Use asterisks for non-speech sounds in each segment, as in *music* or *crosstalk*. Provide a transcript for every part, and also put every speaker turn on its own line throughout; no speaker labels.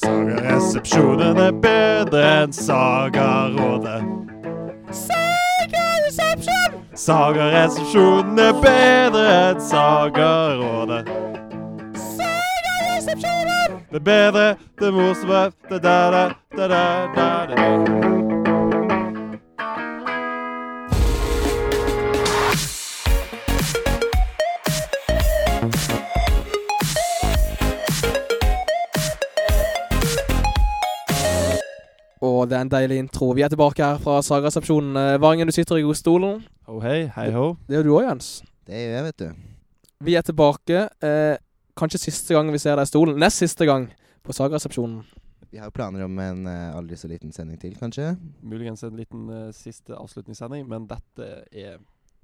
Sagaresepsjonen er bedre enn Sagarådet. Sagaresepsjon! Sagaresepsjonen er bedre enn Sagarådet. Sagaresepsjonen! Det er bedre, det er morsomme, det er da-da, da-da-da-da.
Og det er en deilig intro. Vi er tilbake her fra Saga-resepsjonen. Eh, Vangen, du sitter i godstolen.
Ho hei, Oh, hei ho.
Det gjør du òg, Jens.
Det gjør jeg, vet du.
Vi er tilbake. Eh, kanskje siste gang vi ser deg i stolen. Nest siste gang på Saga-resepsjonen.
Vi har jo planer om en eh, aldri så liten sending til, kanskje.
Muligens en liten eh, siste avslutningssending, men dette er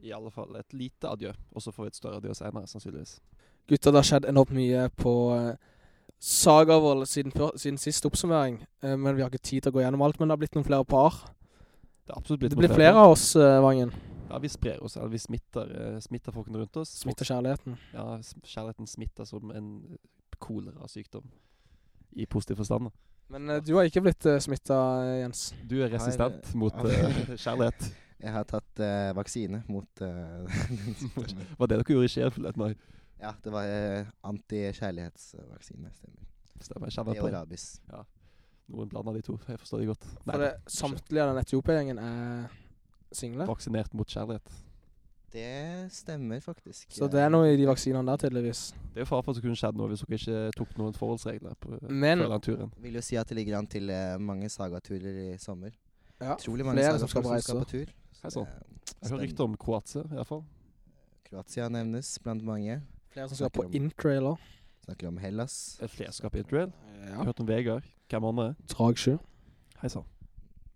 i alle fall et lite adjø. Og så får vi et større adjø senere, sannsynligvis.
Gutter, det har skjedd enormt mye på eh, Sagavoll siden, før- siden sist oppsummering. Eh, men vi har ikke tid til å gå gjennom alt. Men det har blitt noen flere par.
Det er absolutt blitt
Det
noen
blir flere av oss, eh, Vangen.
Ja, vi sprer oss, eller vi smitter, eh, smitter folkene rundt oss.
Smitter kjærligheten.
Og, ja, s- kjærligheten smitter som en kolerasykdom. I positiv forstand. da.
Men eh, du har ikke blitt eh, smitta, Jens.
Du er
Har-
resistent mot
Ja.
eh, kjærlighet.
Jeg har tatt eh, vaksine mot eh, *laughs* den sykdommen.
Var det dere gjorde i Skien forleden òg?
Ja, det var eh, antikjærlighetsvaksine. Stemmer.
Stemmer. Jeg kjenner
Det og
på
rabies.
noen blander de to. Jeg forstår de godt.
For
Nei,
det, samtlige av den Etiopia-gjengen er single.
vaksinert mot kjærlighet.
Det stemmer faktisk.
Så det er noe i de vaksinene der, tydeligvis.
Det er jo fare for at det kunne skjedd noe hvis dere ikke tok noen forholdsregler på,
Men-
før den turen.
Jeg Vil jo si at det ligger an til eh, mange sagaturer i sommer.
Ja,
Utrolig mange
flere
sagafolk
som
som
skal på
skal, på tur.
Hei sann. Jeg hører
Spennende.
rykter om Kroatia, i hvert fall.
Kroatia nevnes blant mange.
Flere som skal
Snakker
på
om-
intrailer.
Snakker om Hellas.
Et flerskap i trail. Jeg har
Ja.
hørt om Vegard. Hvem andre?
Dragsjø.
Hei sann.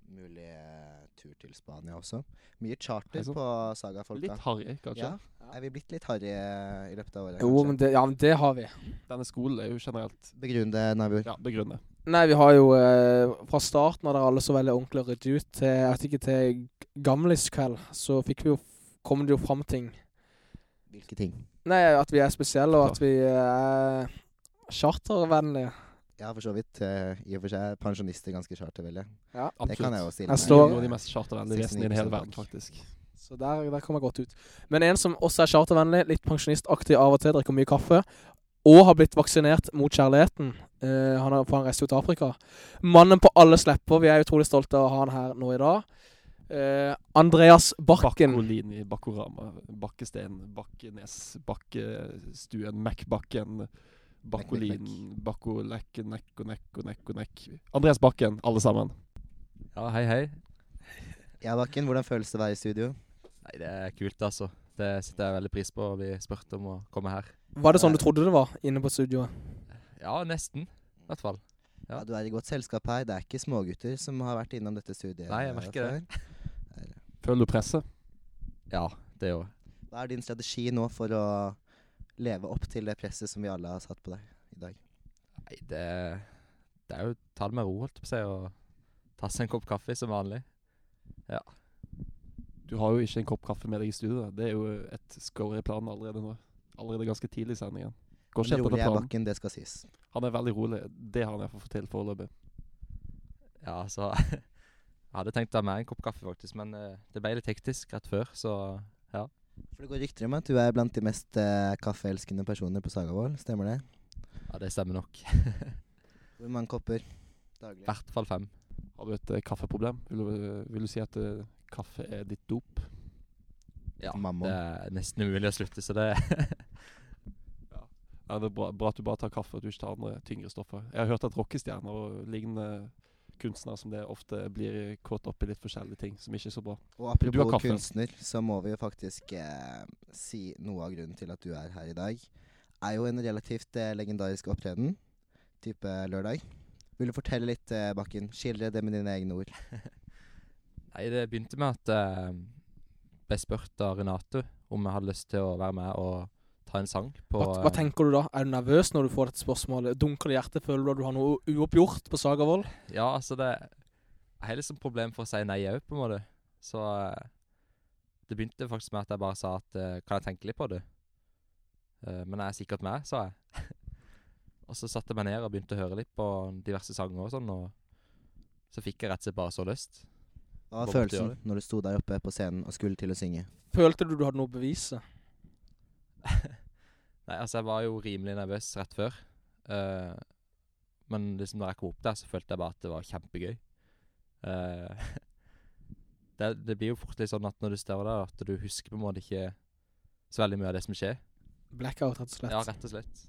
Mulig eh, tur til Spania også. Mye
Hei
charter
sann.
på sagafolka.
Litt harry, kanskje.
Ja. Er vi blitt litt harry eh, i løpet av året?
Jo,
kanskje?
men det, ja, men det har vi.
Denne skolen er jo generelt
Begrunn det, Nabur.
ja, begrunnet.
Nei, vi har jo eh, fra starten av der alle så veldig ordentlig og ryddig ut, til jeg vet ikke, til gamliskveld, så fikk vi jo kom det jo fram ting.
Hvilke ting?
Nei, at vi er spesielle, og at vi eh, er chartervennlige.
Ja, for så vidt. eh, I og for seg er pensjonister ganske chartervelle.
Absolutt.
Det kan jeg jo
Jeg
stille meg.
står-
Noen av de mest chartervennlige vesenene i den hele verden, faktisk.
Så der, der kom jeg godt ut. Men en som også er chartervennlig, litt pensjonistaktig av og til, drikker mye kaffe, og har blitt vaksinert mot kjærligheten. Eh, han har på en reise ut til Afrika. Mannen på alles lepper. Vi er utrolig stolte av å ha han her nå i dag. Eh, Andreas Barken.
Bakkolini, Bakkorama, Bakkesten, Bakkenes, Bakkestuen, Mac-Bakken, Bakkolin, Bakkolekke, Nekk og Nekk og Nekk og Nekk. Andreas Bakken, alle sammen.
Ja, hei, hei.
Ja, Bakken, hvordan føles det å være i studio?
Nei, det er kult, altså. Det setter jeg veldig pris på å bli spurt om å komme her.
Var det sånn du trodde det var inne på studioet?
Ja, nesten. I hvert fall.
Ja.
Ja.
Du er i godt selskap her. Det er ikke smågutter som har vært innom dette studiet.
Nei,
her
jeg merker det.
før.
Føler du presset?
Ja, det òg.
Hva er din strategi nå for å leve opp til det presset som vi alle har satt på deg i dag?
Nei, det, det er jo ta det med ro, holdt jeg på å si, og ta seg en kopp kaffe som vanlig.
Du har jo ikke en kopp kaffe med deg i studio. da. Det er jo et score i planen allerede nå. Allerede ganske tidlig i sendingen. Går ikke helt
Men rolig
etter
er
planen.
Bakken, det skal sies.
Han er veldig rolig. Det har han iallfall fått til foreløpig.
Ja, så *laughs* Jeg hadde tenkt å ta med en kopp kaffe, faktisk, men eh, det ble litt hektisk rett før, så
For Det går rykter om at du er blant de mest eh, kaffeelskende personer på Sagavoll. Stemmer det?
ja, det stemmer nok. *laughs*
Hvor mange kopper daglig?
I hvert fall fem.
Har du et eh, kaffeproblem? Vil du, vil du si at eh, kaffe er ditt dop?
Ja,
Mammon.
det er nesten umulig å slutte, så det *laughs*
Nei, det er bra, bra at du bare tar kaffe, og at du ikke tar andre tyngre stoffer. Jeg har hørt at rockestjerner og lignende kunstnere som det ofte blir kåt opp i litt forskjellige ting som ikke er så bra.
Og
Du har
apropos
kaffe.
kunstner, så må vi jo faktisk eh, si noe av grunnen til at du er her i dag. Er jo en relativt eh, legendarisk opptreden, type lørdag. Vil du fortelle litt, eh, Bakken? Skildre det med dine egne ord.
Nei, det begynte med at jeg ble spurt av Renate om jeg hadde lyst til å være med og ta en sang på
Hva, hva
eh,
tenker du da? Er du nervøs når du får dette spørsmålet? Dunker det i hjertet? Føler du at du har noe uoppgjort på Sagavoll?
Ja, altså det Jeg har liksom problem for å si nei òg, på en måte. Så eh, det begynte faktisk med at jeg bare sa at eh, Kan jeg tenke litt på det? Eh, men jeg er sikkert med, sa jeg. *laughs* Og så satte jeg meg ned og begynte å høre litt på diverse sanger og sånn, og så fikk jeg rett og slett bare så lyst.
Hva var
Hva måtte du
følelsen
gjøre?
når du sto der oppe på scenen og skulle til å synge?
Følte du du hadde noe å bevise?
Nei, altså jeg var jo rimelig nervøs rett før. Eh, men liksom når jeg kom opp der, så følte jeg bare at det var kjempegøy. Eh, *laughs* det, det blir jo fort litt sånn at når du står der, at du husker på en måte ikke så veldig mye av det som skjer.
Blackout, rett og slett.
Ja, rett og slett.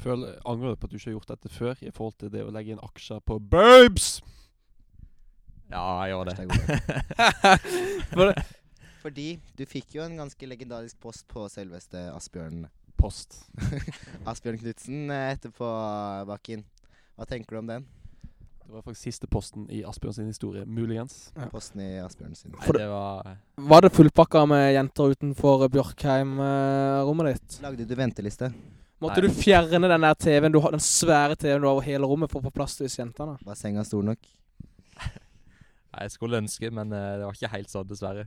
Føl, angrer du på at du ikke har gjort dette før i forhold til det å legge inn aksjer på Babes?
Ja, jeg gjør det.
Hashtag ordet.
For det-
Fordi du fikk jo en ganske legendarisk post på selveste Asbjørn *laughs*
Post.
Asbjørn Knutsen eh, etterpå, Bakken. Hva tenker du om den
Det var faktisk siste posten i Asbjørn sin historie, muligens.
posten i Asbjørn sin?
Nei, *laughs* det var
Var det fullpakka med jenter utenfor Bjørkheim-rommet ditt?
Lagde du venteliste?
Måtte du fjerne den der TV-en du har, den svære TV-en du har over hele rommet for å få plass til disse jentene?
Var senga stor nok?
Nei, Jeg skulle ønske, men eh, det var ikke helt sånn, dessverre.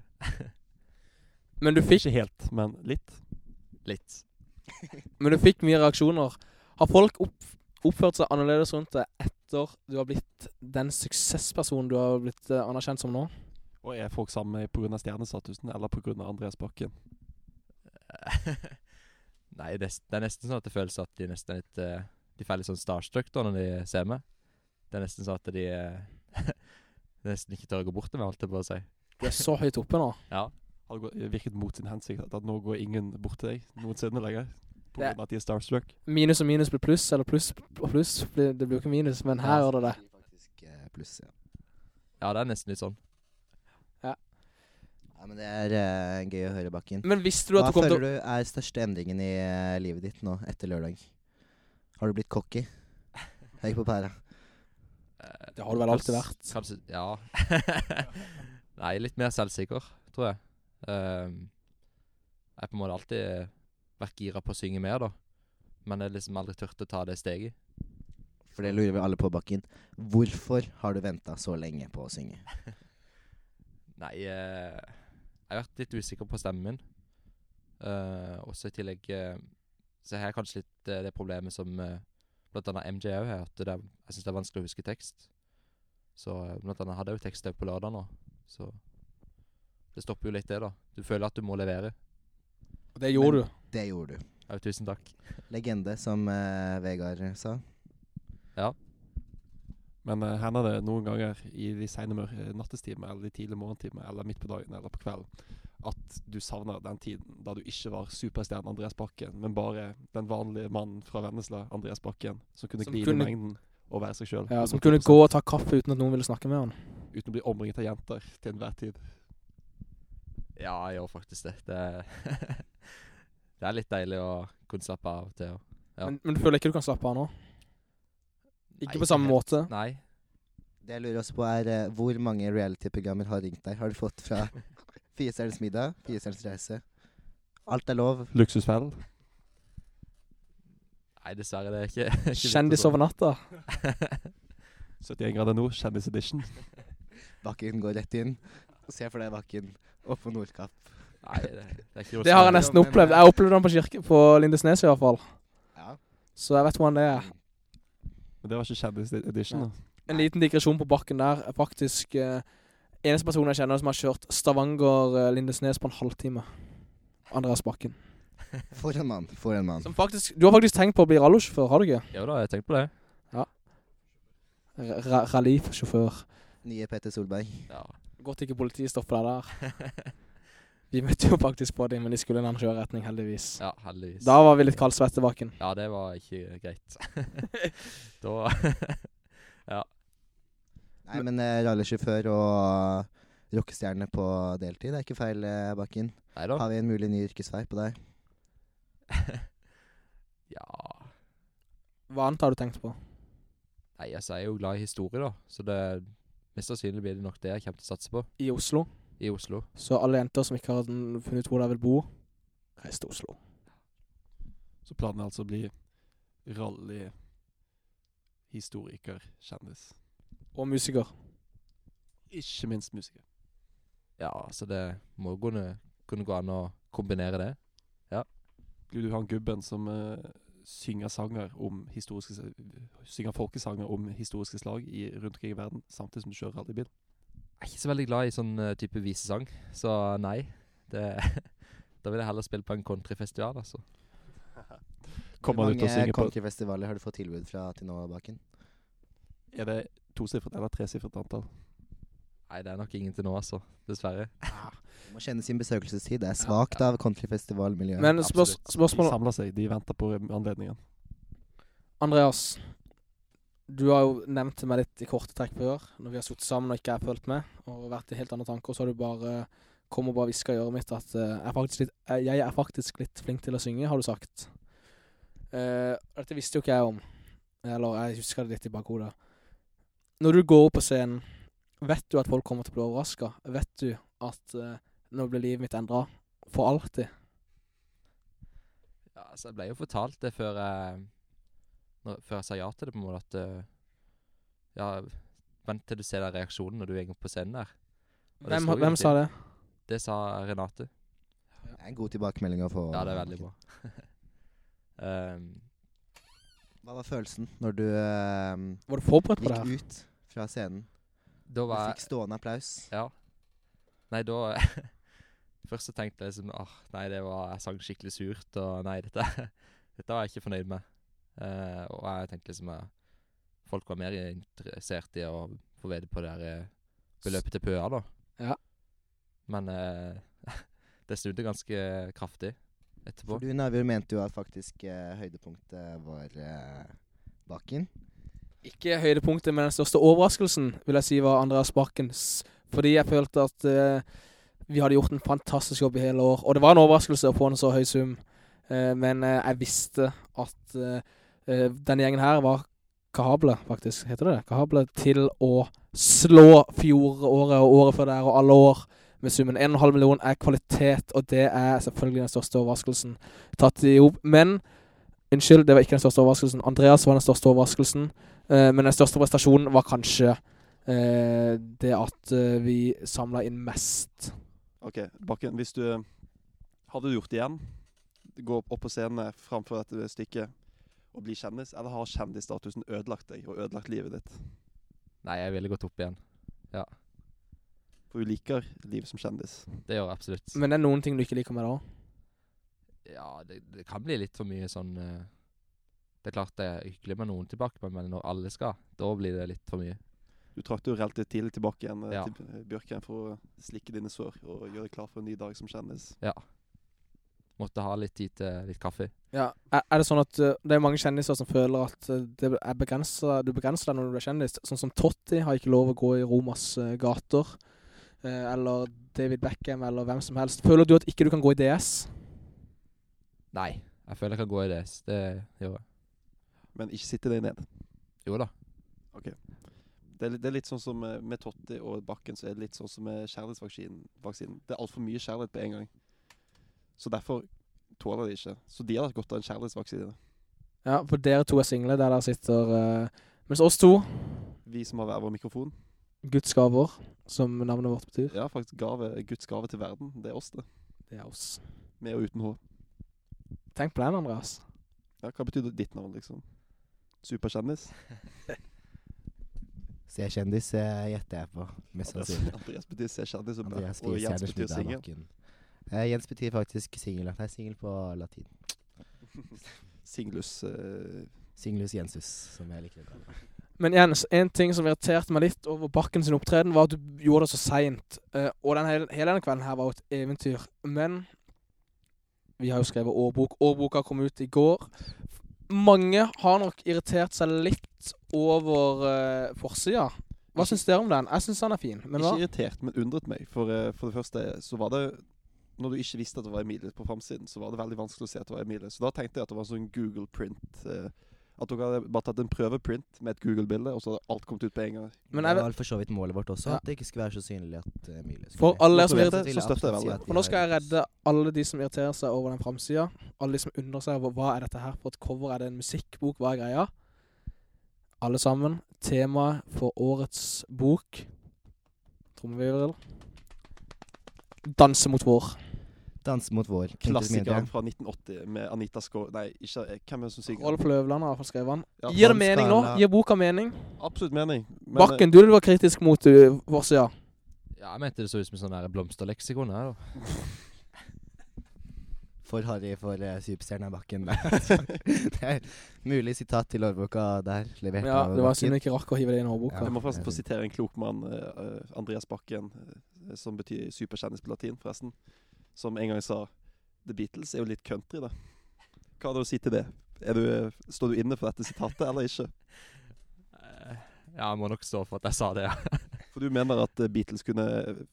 Men du fikk,
Ikke helt, men litt.
Litt.
men du fikk mye reaksjoner. Har folk opp, oppført seg annerledes rundt deg etter du har blitt den suksesspersonen du har blitt eh, anerkjent som nå?
Og er folk sammen pga. stjernestatusen eller pga. Andreas Bakken?
*laughs* Nei, det, er s- det er nesten sånn at det føles at de nesten er litt eh, De får litt sånn starstruck da når de ser meg. Det er nesten sånn at de eh, *laughs* nesten ikke tør å gå bort til meg, holdt jeg på å si.
Du er så høyt oppe nå.
Ja.
Har det gå- virket mot sin hensikt at, at nå går ingen bort til deg noensinne lenger? Pga.
Det-
at de er starstruck?
Minus og minus blir pluss, eller pluss og pluss blir, Det blir jo ikke minus, men her gjør det det.
Faktisk, eh, Pluss, ja.
ja, det er nesten litt sånn.
ja. Men det er eh, gøy å høre, Bakken.
Men visste du
Hva
at du kom
føler
til å
du er største endringen i eh, livet ditt nå, etter lørdag? Har du blitt cocky? Høy på pæra.
Eh,
Det har du vel alltid
kans-
vært.
Kanskje Ja. *laughs* Nei, litt mer selvsikker, tror jeg. Ehm, jeg har på en måte alltid eh, vært gira på å synge mer, da. Men jeg har liksom aldri turt å ta det steget.
For det lurer vi alle på, Bakken. Hvorfor har du venta så lenge på å synge?
Nei, eh, jeg har vært litt usikker på stemmen min. Eh, også i tillegg eh, så har jeg kanskje litt eh, det problemet som eh, blant annet MJ òg har, at det er, jeg syns det er vanskelig å huske tekst. Så eh, blant annet hadde jeg jo tekst også på lørdag nå, så det stopper jo litt det, da. Du føler at du må levere.
Det gjorde du.
Det gjorde du.
Ja, tusen takk.
Legende, som eh, Vegard sa.
Men eh, hender det noen ganger i de sene mør- eh, nattetimene eller de tidlige morgentimene eller midt på dagen eller på kvelden at du savner den tiden da du ikke var superstjernen Andreas Bakken, men bare den vanlige mannen fra Vennesla, Andreas Bakken, som kunne
Som
gli inn
kunne-
i mengden og være seg sjøl.
Ja, som kunne gå og ta kaffe uten at noen ville snakke med han.
Uten å bli omringet av jenter til enhver tid.
Ja, jeg gjør faktisk det. Det er, *laughs* det er litt deilig å kunne slappe av til. og- Ja.
Men, men du føler ikke du kan slappe av nå? Ikke
Nei,
på samme
helt.
måte?
Nei.
Det jeg lurer også på, er eh, hvor mange reality-programmer har ringt deg? Har du fått fra *laughs* Fiestjernes middag, Fiestjernes reise? Alt er lov.
Luksusfellen.
Nei, dessverre. Det er ikke, *laughs* ikke vits å
Kjendis
tro.
over natta?
71 grader nord, kjendisedition.
Bakken går rett inn. Se for deg Bakken oppå Nordkapp.
*laughs* Nei, det, det er ikke noe
Det har jeg
som-
nesten opplevd. Jeg opplevde den på, kirke, på Lindesnes i hvert fall.
Ja.
Så jeg vet hvordan det er.
Men det var ikke kjendisedition. da.
En liten digresjon på bakken der. er Faktisk eh, eneste personen jeg kjenner som har kjørt Stavanger-Lindesnes på en halvtime. Andreas Bakken.
For en mann. For en mann.
Som faktisk, du har faktisk tenkt på å bli rallosjåfør, har du ikke?
Jo da, jeg tenkte på det.
Ra- ra- Rallysjåfør.
Nye Petter Solberg.
Ja.
Godt ikke politiet stopper *laughs* deg der. Vi møtte jo faktisk på dem, men de skulle i en annen kjøreretning, heldigvis.
ja, heldigvis.
Da var vi litt kaldsvette, Bakken.
Ja, det var ikke greit. da *laughs*
Nei, men eh, rallysjåfør og eh, rockestjerne på deltid er ikke feil, eh, Bakken.
Nei da.
Har vi en mulig ny yrkesvei på deg?
Ja
Hva annet har du tenkt på?
Nei, altså, jeg er jo glad i historie, da. Så det mest sannsynlig blir det nok det jeg kommer til å satse på
I Oslo?
i Oslo.
Så alle jenter som ikke har mm, funnet ut hvor de vil bo, reis til Oslo.
Så planen er altså å bli rallyhistoriker, kjendis.
Og musiker.
Ikke minst musiker.
Ja, så det må kunne, kunne gå an å kombinere det.
Gud, du har han gubben som eh, synger sanger om historiske s- Synger folkesanger om historiske slag i, rundt omkring i verden, samtidig som du kjører rallybil.
Jeg er ikke så veldig glad i sånn eh, type visesang, så nei. Det, *laughs* da vil jeg heller spille på en countryfestival, altså.
Kommer
Hvor
du til å synge
mange eh,
på
countryfestivaler har du fått tilbud fra til nå, Bakken?
Er det tosifret eller tresifret antall?
Nei, det er nok ingen til nå, altså. Dessverre.
Du må kjenne sin besøkelsestid. Det er svakt av countryfestivalmiljøet.
Men spørs,
absolutt.
De
spørsmålet
samler seg, de venter på anledningen.
Andreas, du har jo nevnt meg litt i korte trekk før, når vi har sittet sammen og ikke jeg har fulgt med, og vært i helt andre tanker, så har du bare kommet og bare hviska i øret mitt at eh, jeg, er faktisk litt, eh, jeg er faktisk litt flink til å synge, har du sagt. Eh, dette visste jo ikke jeg om, eller jeg husker det litt i bakhodet. Når du går opp på scenen, vet du at folk kommer til å bli overraska? Vet du at eh, nå blir livet mitt endra for alltid?
Ja, altså, jeg ble jo fortalt det før jeg, når, før jeg sa ja til det, på en måte at eh, Ja, vent til du ser den reaksjonen når du går på scenen der. Og det
Hvem,
slo jo
hvem
til.
sa det?
Det sa Renate.
Det er en god tilbakemelding å få.
Ja, det er veldig
Bakken.
bra. *laughs* um,
Hva var følelsen når du eh,
Var du forberedt på det her?
gikk ut fra scenen?
da
Du
var jeg
fikk stående applaus.
Ja. Nei, da *laughs* Først så tenkte jeg liksom ah, Nei, det var Jeg sang skikkelig surt, og nei, dette, *laughs* dette var jeg ikke fornøyd med. Eh, og jeg tenkte liksom eh, Folk var mer interessert i å få vite på det her eh, beløpet til Pøa, da.
Ja.
Men eh, *laughs* det snudde ganske kraftig etterpå.
For du, Navjord, mente jo at faktisk eh, høydepunktet var eh, Bakken.
Ikke høydepunktet, men den største overraskelsen vil jeg si var Andreas Bakkens. Fordi jeg følte at eh, vi hadde gjort en fantastisk jobb i hele år. Og det var en overraskelse å få en så høy sum. Eh, men eh, jeg visste at eh, eh, denne gjengen her var kapable, faktisk. Heter det det? Kapable til å slå fjoråret og året før der og alle år med summen 1,5 million er kvalitet, og det er selvfølgelig den største overraskelsen tatt i hop. Men unnskyld, det var ikke den største overraskelsen. Andreas var den største overraskelsen. Eh, men den største prestasjonen var kanskje eh, det at eh, vi samla inn mest.
OK, Bakken, hvis du eh, Hadde du gjort det igjen? Gå opp- opp på scenen eh, framfor dette stykket og bli kjendis? Eller har kjendisstatusen ødelagt deg og ødelagt livet ditt?
Nei, jeg ville gått opp igjen.
For du liker livet som kjendis.
Det gjør jeg absolutt.
Men det er noen ting du ikke liker med det òg.
ja, det, det kan bli litt for mye sånn eh, Det er klart det er hyggelig med noen tilbake, men når alle skal, da blir det litt for mye.
Du trakk deg jo relativt tidlig tilbake igjen eh,
Ja.
til eh, Bjørkheim for å slikke dine sår og gjøre deg klar for en ny dag som kjendis.
Måtte ha litt tid til litt kaffe.
Ja. Er, er det sånn at eh, det er mange kjendiser som føler at eh, det er begrenset, du begrenser deg når du er kjendis? Sånn som Totti har ikke lov å gå i Romas eh, gater. Eh, eller David Beckham, eller hvem som helst. Føler du at ikke du kan gå i DS?
Nei, jeg føler jeg kan gå i det. så Det gjør jeg.
Men ikke sitte deg ned.
Jo da.
Det er, litt- det er litt sånn som eh, med Totti og Bakken, så er det litt sånn som med kjærlighetsvaksinen. vaksinen. Det er altfor mye kjærlighet på en gang. Så derfor tåler de ikke. Så de hadde hatt godt av en kjærlighetsvaksine.
Ja, for dere to er single der dere sitter. Eh, mens oss to,
Vi som har hver vår mikrofon.
Guds gaver, som navnet vårt betyr,
Ja, faktisk gave, Guds gave til verden. Det er oss, det.
det er oss.
Med og uten H.
Tenk på den, Andreas.
Ja, hva betyr ditt navn, liksom? Superkjendis?
Se kjendis eh, gjetter jeg på, mest
Andreas,
sannsynlig.
Andreas betyr se kjendis og bra.
Andreas
Og Jens
Wiesjerners
betyr
middag
singel.
bakken. Eh, Jens betyr faktisk singel. Nei, singel på latin.
Singlus eh,
Singlus Jensus, som jeg liker å kalle det.
Men Jens, en ting som irriterte meg litt over Bakken sin opptreden, var at du gjorde det så seint. Eh, og den hele, hele denne kvelden her var jo et eventyr. Men vi har jo skrevet årbok. Årboka kom ut i går. Mange har nok irritert seg litt over eh, forsida. Hva syns dere om den? Jeg syns den er fin. Men hva?
Ikke irritert, men undret meg. For, eh, for det første så var det Når du ikke visste at det var Emilie på framsiden, så var det veldig vanskelig å se at det var Emilie. Så da tenkte jeg at det var en sånn Google print. eh, at dere hadde bare tatt en prøveprint med et Google-bilde, og så hadde alt kommet ut på en gang.
Men
det
jeg,
var vel for så vidt målet vårt også,
Ja.
at det ikke skulle være så synlig at eh, Emilie skulle
For alle
Nå
dere som
vet
vet
jeg
det,
vil
så støtter jeg
absolutt si
veldig
at
det.
for nå skal jeg redde alle de som irriterer seg over den framsida. Alle de som undrer seg over hva er dette her for et cover. Er det en musikkbok? Hva er greia? Alle sammen. Temaet for årets bok Trommevirvel. Danse mot vår.
Danse mot vår. intet mindre.
Klassikeren
*laughs*
fra 1980 med Anita Skår... Nei, ikke, eh, hvem er det som synger?
Rolf Løvland har i hvert fall skrevet den.
Ja,
Gir det
han
mening nå?
skal ha-
Gir boka mening?
Absolutt mening. Men,
Bakken, du var kritisk mot uh, Voss, ja.
Ja, jeg mente det så ut som en sånn der blomsterleksikon her, da.
For Harry, for eh, superstjernen er bakken. *laughs* det er mulig sitat til årboka der. Levert
ja
av
det var synd
Bakken.
vi ikke rakk å hive det inn i hårboka.
Jeg må forresten få sitere en klok mann, eh, eh, Andreas Bakken, eh, som betyr superkjendis på latin, forresten, som en gang sa The Beatles er jo litt country, da. Hva har du å si til det? Er du, eh, står du inne for dette sitatet, eller ikke?
Eh, Ja, jeg må nok stå for at jeg sa det, ja.
For du mener at eh, Beatles kunne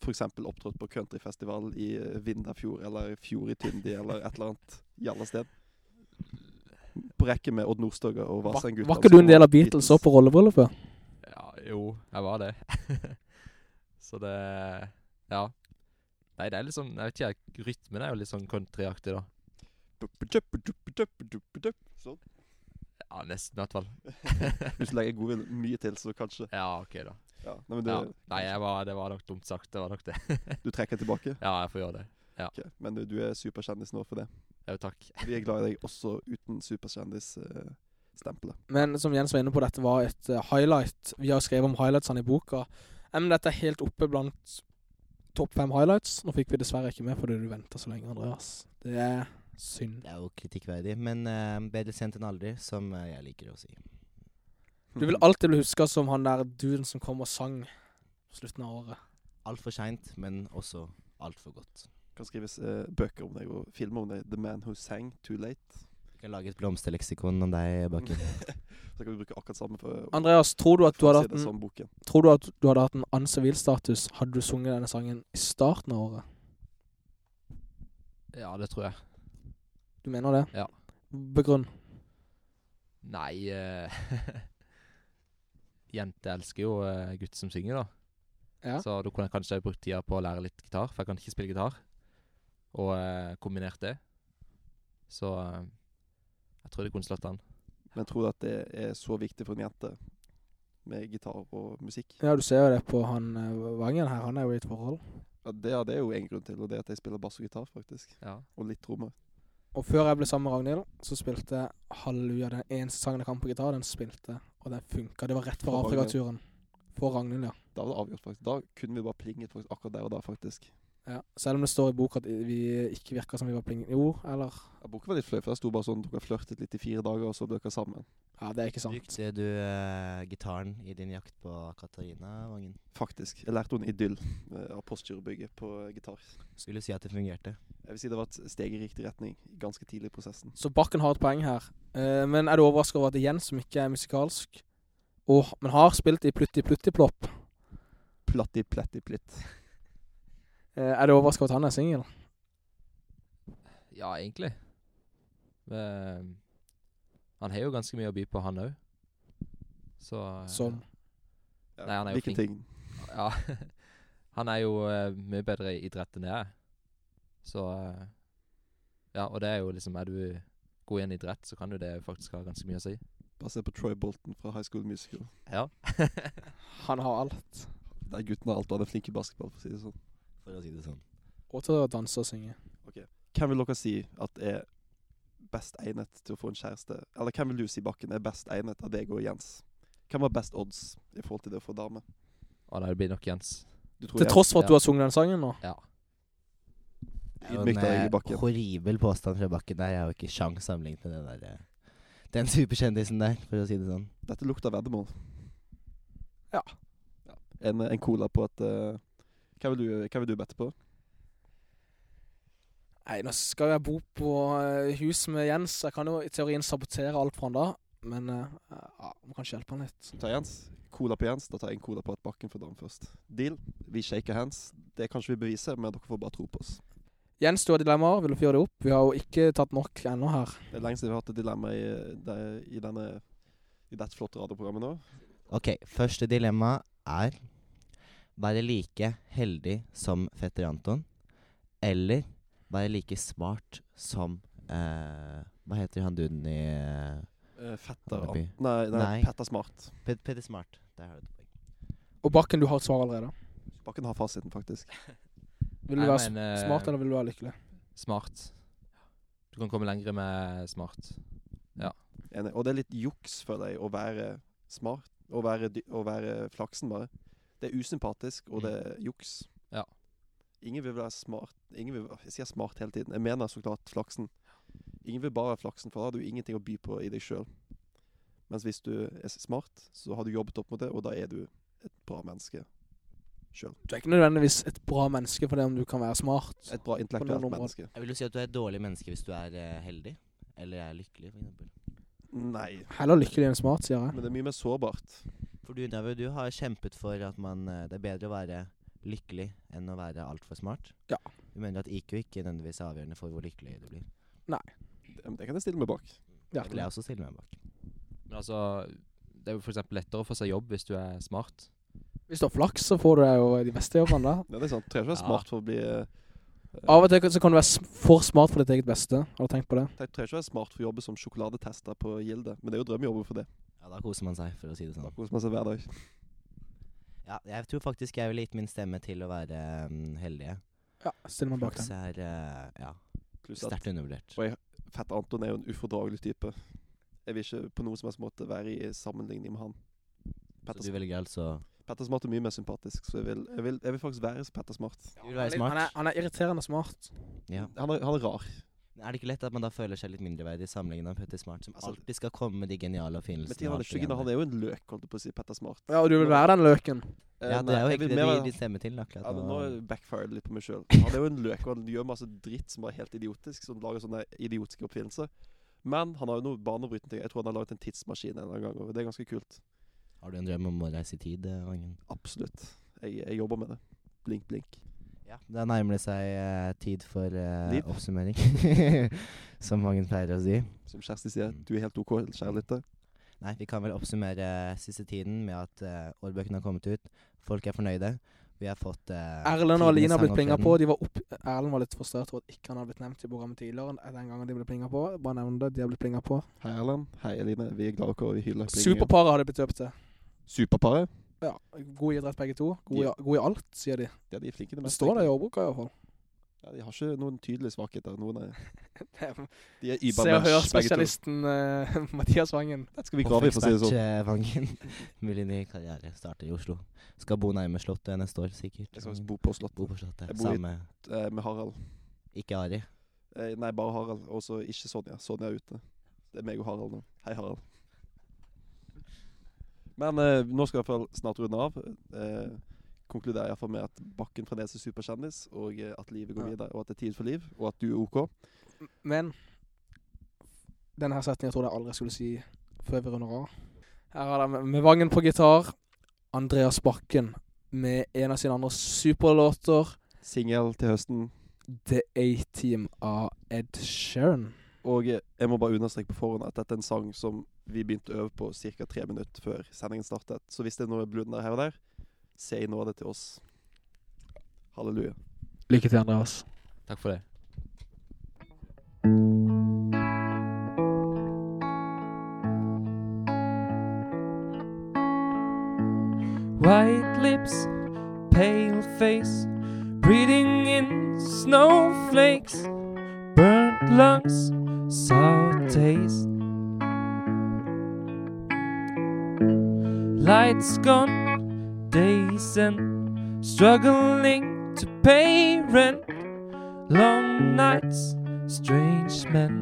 f.eks. opptrådt på countryfestival i eh, Vindafjord eller Fjord i Tyndi eller et eller annet jalla sted? På rekke med Odd Nordstoga og
Var,
Vassendgutta.
var ikke du en del av Beatles òg på rollebryllupet?
Ja, jo, jeg var det. *laughs* så det Ja. Nei, det er liksom Jeg vet ikke, jeg- rytmen er jo litt sånn countryaktig, da.
Sånn.
Ja, nesten i hvert fall.
Hvis du legger godviljen mye til, så kanskje
Ja, OK, da.
ja. Nei, men du,
Ja. Nei, jeg var, det var nok dumt sagt. Det var nok det.
du trekker tilbake?
Ja, jeg får gjøre det.
Ok, Men du, du er superkjendis nå for det.
Jo, takk.
Vi er glad i deg også uten eh, superkjendisstempelet.
Men som Jens var inne på, dette var et eh, highlight. Vi har skrevet om highlightsene i boka. Eh, Men dette er helt oppe blant topp fem highlights. Nå fikk vi dessverre ikke med fordi du venta så lenge, Andreas. Det er synd.
Det er jo kritikkverdig, men eh, bedre sent enn aldri, som eh, jeg liker å si.
Du
*laughs* Mhm.
vil alltid bli huska som han der duden som kom og sang på slutten av året.
Altfor seint, men også altfor godt.
kan skrives eh, bøker om deg og filmer om deg. 'The Man Who Sang Too Late'.
Vi kan lage et blomsterleksikon om deg, Bakken.
Mm, Så kan vi bruke akkurat samme for,
Andreas, tror du at du
for å
hadde
si
hatt
det
en
som boken.
Tror du at du hadde hatt en annen sivilstatus hadde du sunget denne sangen i starten av året?
Ja, det tror jeg.
Du mener det?
Ja.
Begrunn.
Nei eh, *laughs* Jenter elsker jo eh, gutter som synger, da.
Ja.
Så da kunne jeg kanskje brukt tida på å lære litt gitar, for jeg kan ikke spille gitar. Og eh, kombinert det. Så eh, jeg tror det kunne slått an.
Men tror du at det er så viktig for en jente med gitar og musikk?
Ja, du ser jo det på han eh, Vangen her. Han er jo i et forhold.
Ja, det, ja, det er jo en grunn til, og det er at jeg spiller bass og gitar, faktisk.
Ja.
Og litt trommer.
Og før jeg ble sammen med Ragnhild, så spilte jeg Halleluja, den eneste sangen jeg kan på gitar, den spilte, og den funka. Det var rett før
For Ragnhild.
Afrikaturen. For Ragnhild, ja.
Da var det avgjort, faktisk. Da kunne vi bare plinget faktisk akkurat der og da, faktisk.
ja. Selv om det står i boka at vi ikke virka som vi var pling... Jo, eller
Ja, boken var litt fløy, for der sto bare sånn dere flørtet litt i fire dager, og så ble dere sammen.
Ja, det er ikke sant.
Brukte du eh, gitaren i din jakt på Katarina, Vangen?
Faktisk. Jeg lærte henne idyll eh, av Postgirobygget på eh, gitar.
Skulle si at det fungerte.
Jeg vil si det var et steg i riktig retning ganske tidlig i prosessen.
Så Bakken har et poeng her. Eh, men er du overraska over at det er Jens, som ikke er musikalsk, og, men har spilt i Plutti Plutti Plopp
Platti, pletti, plitt.
Eh, Er du overraska over at han er singel?
Ja, egentlig. Men, han har jo ganske mye å by på, han òg. Så eh,
Som
Ja,
Nei, han er jo
hvilken
flink.
ting?
Ja. *laughs* han er jo eh, mye bedre i idrett enn jeg er. Så eh, Ja, og det er jo liksom Er du god i en idrett, så kan jo det faktisk ha ganske mye å si.
Basert på Troy Bolton fra High School Musical.
Ja.
Han har alt.
Der gutten har alt og han er flink i basketball, for å si det sånn.
For å si det sånn.
Og til å danse og synge.
Hvem vil dere si at er best egnet til å få en kjæreste? Eller hvem vil du si, Bakken, er best egnet av deg og Jens? Hvem har best odds i forhold til det å få dame?
*laughs* Og det blir nok Jens.
Du tror
Til
Jens-
tross for at
ja.
du har sunget den sangen nå.
Ja.
Det er jo
Ydmykt av
en
deg,
eh,
Bakken.
horribel påstand fra Bakken der. Jeg har jo ikke sjans sammenlignet med den der eh, Den superkjendisen der, for å si det sånn.
Dette lukter veddemål.
Ja.
Ja. En, en cola på et eh, hva, vil du, hva vil du bette på?
Nei, nå skal jeg bo på eh, hus med Jens. Jeg kan jo i teorien sabotere alt for han da. Men eh, ja, må kanskje hjelpe han litt.
Ta Jens. Cola på Jens. Da tar jeg en cola på et bakken for dagen først. Deal. Vi shaker hands. Det kan ikke vi bevise, men dere får bare tro på oss.
Jens, du har dilemmaer. Vil du fyre det opp? Vi har jo ikke tatt nok ennå her.
Det er lenge siden vi har hatt et dilemma i, det- i denne i dette flotte radioprogrammet nå.
Ok, første dilemma er Være like heldig som fetter Anton Eller være like smart som eh, Hva heter han duden i eh,
Eh, fetter
Wannabe.
Ant- Nei, nei,
Nei.
Petter Smart.
Ped Peder Smart, der har du det
Og Bakken, du har et svar allerede.
Bakken har fasiten, faktisk.
Vil du
Jeg
være s-
mener,
eh,
smart, eller vil du være lykkelig?
eh, Smart. Du kan komme lengre med smart.
Enig. Og det er litt juks, føler jeg, å være smart. Å være, dy- å være flaksen, bare. Det er usympatisk, og det er juks.
Mm. Ja.
Ingen vil være smart. Ingen vil, jeg sier smart hele tiden. Jeg mener så klart flaksen. Ingen vil bare være flaksen, for da har du ingenting å by på i deg sjøl. Mens hvis du er smart, så har du jobbet opp mot det, og da er du et bra menneske.
Du er ikke nødvendigvis et bra menneske fordi om du kan være smart.
Et bra intellektuelt
områder.
menneske.
Jeg vil jo si at du er et dårlig menneske hvis du er eh, heldig. Eller er lykkelig, for eksempel.
Nei.
Heller lykkelig enn smart, sier jeg.
Men det er mye mer sårbart.
For du, David, du har kjempet for at man, eh, det er bedre å være lykkelig enn å være altfor smart.
Ja.
Du mener at IQ ikke nødvendigvis er avgjørende for hvor lykkelig du blir.
Det, det kan jeg stille meg bak.
Ja.
Det vil jeg også stille meg bak.
Men altså, det er jo for eksempel lettere å få seg jobb hvis du er smart.
Hvis du har flaks, så får du deg jo de beste jobbene
*laughs*
der.
Nei, det er sant. Trenger ikke være
Ja.
smart for å bli eh,
Av og til kan- så kan du være s- for smart for ditt eget beste. Har du tenkt på det?
Jeg trenger ikke være smart for å jobbe som sjokoladetester på Gilde, men det er jo drømmejobben for det.
Ja, da koser man seg, for å si det
Da
sånn.
koser man seg hver dag.
Ja, jeg tror faktisk jeg ville gitt min stemme til å være mm, heldige.
Ja, stiller meg bak
Flaks
den.
er eh, ja,
Pluss at
sterkt undervurdert.
Og Fett Anton er jo en ufordragelig type. Jeg vil ikke på noen som helst måte være i sammenligning med han.
Så du
Petter,
velger altså
Petter Smart er mye mer sympatisk, så jeg vil, jeg vil, jeg vil faktisk være Petter Smart.
Du vil være smart.
Han er, han er irriterende smart.
Ja.
Han, er, han er rar.
Er det ikke lett at man da føler seg litt mindreverdig sammenlignet med Petter Smart, som
Altså-
alltid skal komme med de geniale
Men
oppfinnelsene?
tiden han er skyggen, av, han er jo en løk, holdt jeg på å si. Petter Smart.
Ja, og du vil være den løken.
Eh,
Ja, det
nei,
er jo
jeg
egentlig
vil
det
mer
vi,
være-
vi stemmer til. akkurat
ja, men
nå.
Nå backfired litt på meg *laughs* sjøl. Han er jo en løk, og han gjør masse dritt som er helt idiotisk, som lager sånne idiotiske oppfinnelser. Men han har jo noe banebrytende ting. Jeg tror han har laget en tidsmaskin en eller annen gang, og det er ganske kult.
Har du en drøm om å reise i tid, eh, Vangen?
Absolutt. Jeg, jeg jobber med det. Blink, blink.
Ja. Da nærmer det seg eh, tid for eh,
Liv?
oppsummering, *laughs* som Vangen pleier å si.
Som Kjersti sier, Mm. du er helt OK, kjære lytter.
Nei, vi kan vel oppsummere siste tiden med at eh, årbøkene har kommet ut. Folk er fornøyde. Vi har fått eh,
Erlend og Aline har blitt
tidenes
plinga
sangopptreden.
på. De var opp Erlend var litt frustrert over at ikke han hadde blitt nevnt i programmet tidligere. enn Den gangen de ble plinga på. Bare nevn det, de har blitt plinga på.
Hei, Erlend. Hei, Eline. Vi er glad i dere, og vi hyller plingingen.
Superparet har de blitt døpt til.
Superparet.
Ja, God i idrett, begge to. God i, god i alt, sier de.
Ja, de er flinke til
Det
mest,
står det i
egentlig.
ordboka, *laughs* iallfall.
Ja, de har ikke noen tydelige svakheter. Noen er,
Se
de er
og
übermensch, begge to.
Hør-spesialisten eh, *laughs* Mathias Wangen.
Dette skal vi grave i, for å si det sånn.
Hoffekspert, eh, *laughs* Vangen. Vil inn i karriere. Starter i Oslo. Skal bo nærme Slottet neste år, sikkert.
Jeg skal faktisk
Vangen.
bo på Slottet
Bo på Slottet.
Jeg bor i-
Samme.
eh, med Harald.
Ikke Ari.
Eh, nei, bare Harald. Og så ikke Sonja. Sonja er ute. Det er meg og Harald nå. Hei, Harald. Men eh, nå skal jeg i hvert fall snart runde av. Eh, konkluderer iallfall med at Bakken fremdeles er superkjendis, og eh, at livet går
Ja.
videre, og at det er tid for liv, og at du er OK.
Men denne her setningen tror jeg aldri skulle si før vi runder av. Her har de med- med Vangen på gitar, Andreas Bakken med en av sine andre superlåter,
Singel til høsten.
The A-Team av Ed Sheeran.
Og eh, jeg må bare understreke på forhånd at dette er en sang som vi begynte å øve på ca. tre minutter før sendingen startet. Så hvis det er noe blunder her og der, se i nåde til oss. Halleluja.
Lykke til, Andreas.
Takk for det.
White lips, pale face, breathing in snowflakes, burnt lungs, sour taste. Lights gone, days and struggling to pay rent. Long nights, strange men.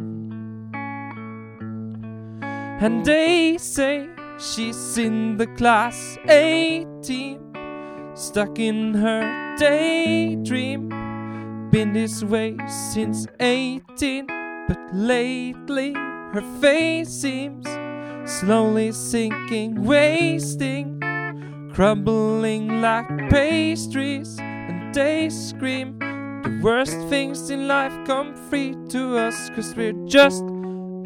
And they say she's in the class 18, stuck in her daydream. Been this way since 18, but lately her face seems slowly sinking, wasting, crumbling like pastries. And they scream the worst things in life come free to us, cause we're just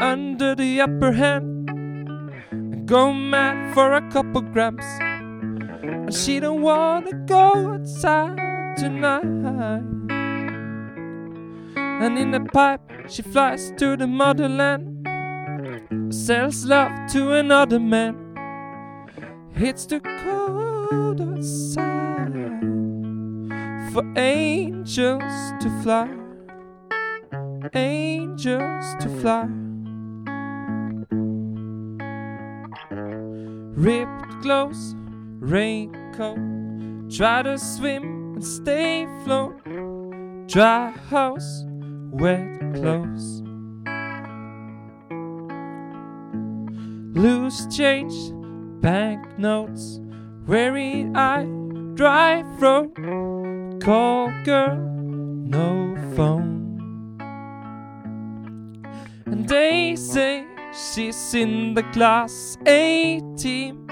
under the upper hand and go mad for a couple grams. And she don't wanna go outside tonight. And in a pipe, she flies to the motherland, sells love to another man. It's too cold outside for angels to fly. angels to fly. Ripped clothes, raincoat, try to swim and stay afloat. Dry house, wet clothes. Loose change, banknotes, weary eye, dry throat. Call girl, no phone. And they say she's in the class A team,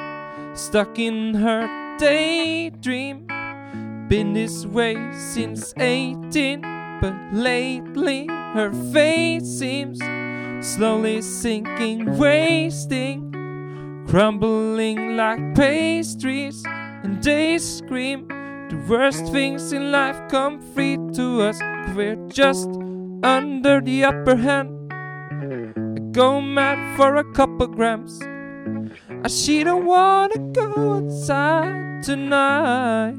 stuck in her daydream. Been this way since 18, but lately her face seems slowly sinking, wasting, crumbling like pastries. And they scream, the worst things in life come free to us. We're just under the upper hand. I go mad for a couple grams. Ah, she don't wanna go outside tonight.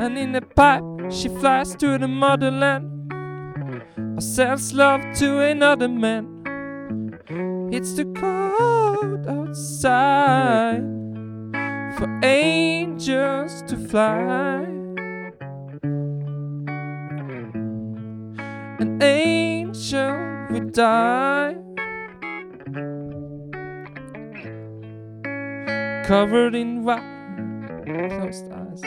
And in a pipe, she flies to the motherland. Or sells love to another man. It's too cold outside for angels to fly. An angel would die. covered in wax, closed eyes,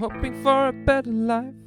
hoping for a better life.